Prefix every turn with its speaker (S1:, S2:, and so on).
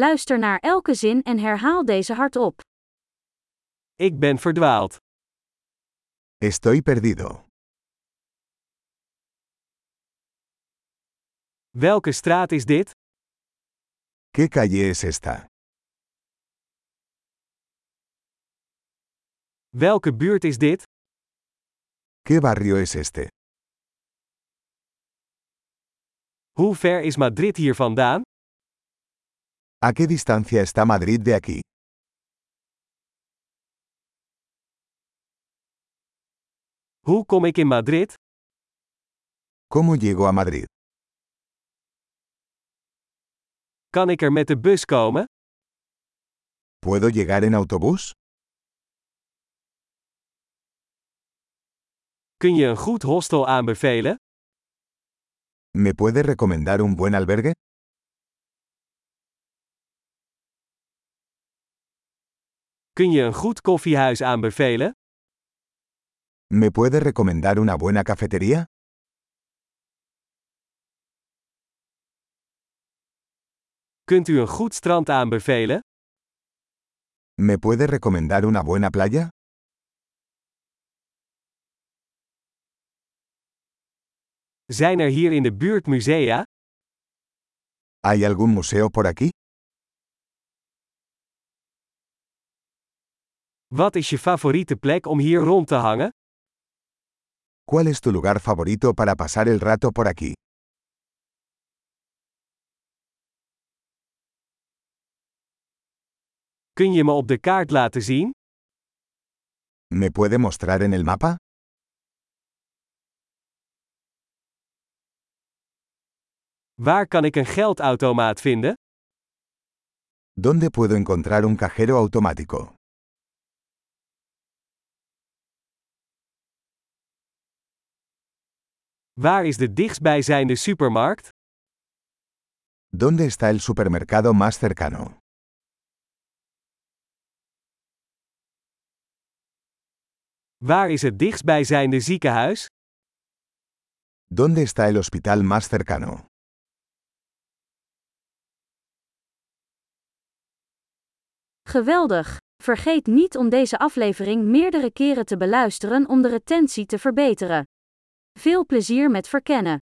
S1: Luister naar elke zin en herhaal deze hardop.
S2: Ik ben verdwaald.
S3: Estoy perdido.
S2: Welke straat is dit?
S3: ¿Qué calle es esta?
S2: Welke buurt is dit?
S3: ¿Qué barrio es este?
S2: Hoe ver is Madrid hier vandaan?
S3: ¿A qué distancia está Madrid de aquí?
S2: Hoe kom ik in Madrid?
S3: ¿Cómo llego a Madrid?
S2: Kan ik er met de bus komen?
S3: ¿Puedo llegar en autobús?
S2: Kun je een goed hostel aanbevelen?
S3: ¿Me puede recomendar un buen albergue?
S2: Kun je een goed koffiehuis aanbevelen?
S3: ¿Me puede recomendar una buena cafetería?
S2: Kunt u een goed strand aanbevelen?
S3: ¿Me puede recomendar una buena playa?
S2: Zijn er hier in de buurt musea?
S3: ¿Hay algún museo por aquí?
S2: Wat is je favoriete plek om hier rond te hangen?
S3: ¿Cuál es tu lugar favorito para pasar el rato por aquí?
S2: Kun je me op de kaart laten zien?
S3: ¿Me puede mostrar en el mapa?
S2: Waar kan ik een geldautomaat vinden?
S3: ¿Dónde puedo encontrar un cajero automático?
S2: Waar is de dichtstbijzijnde supermarkt?
S3: ¿Dónde está el supermercado más cercano?
S2: Waar is het dichtstbijzijnde ziekenhuis?
S3: ¿Dónde está el hospital más cercano?
S1: Geweldig! Vergeet niet om deze aflevering meerdere keren te beluisteren om de retentie te verbeteren. Veel plezier met verkennen.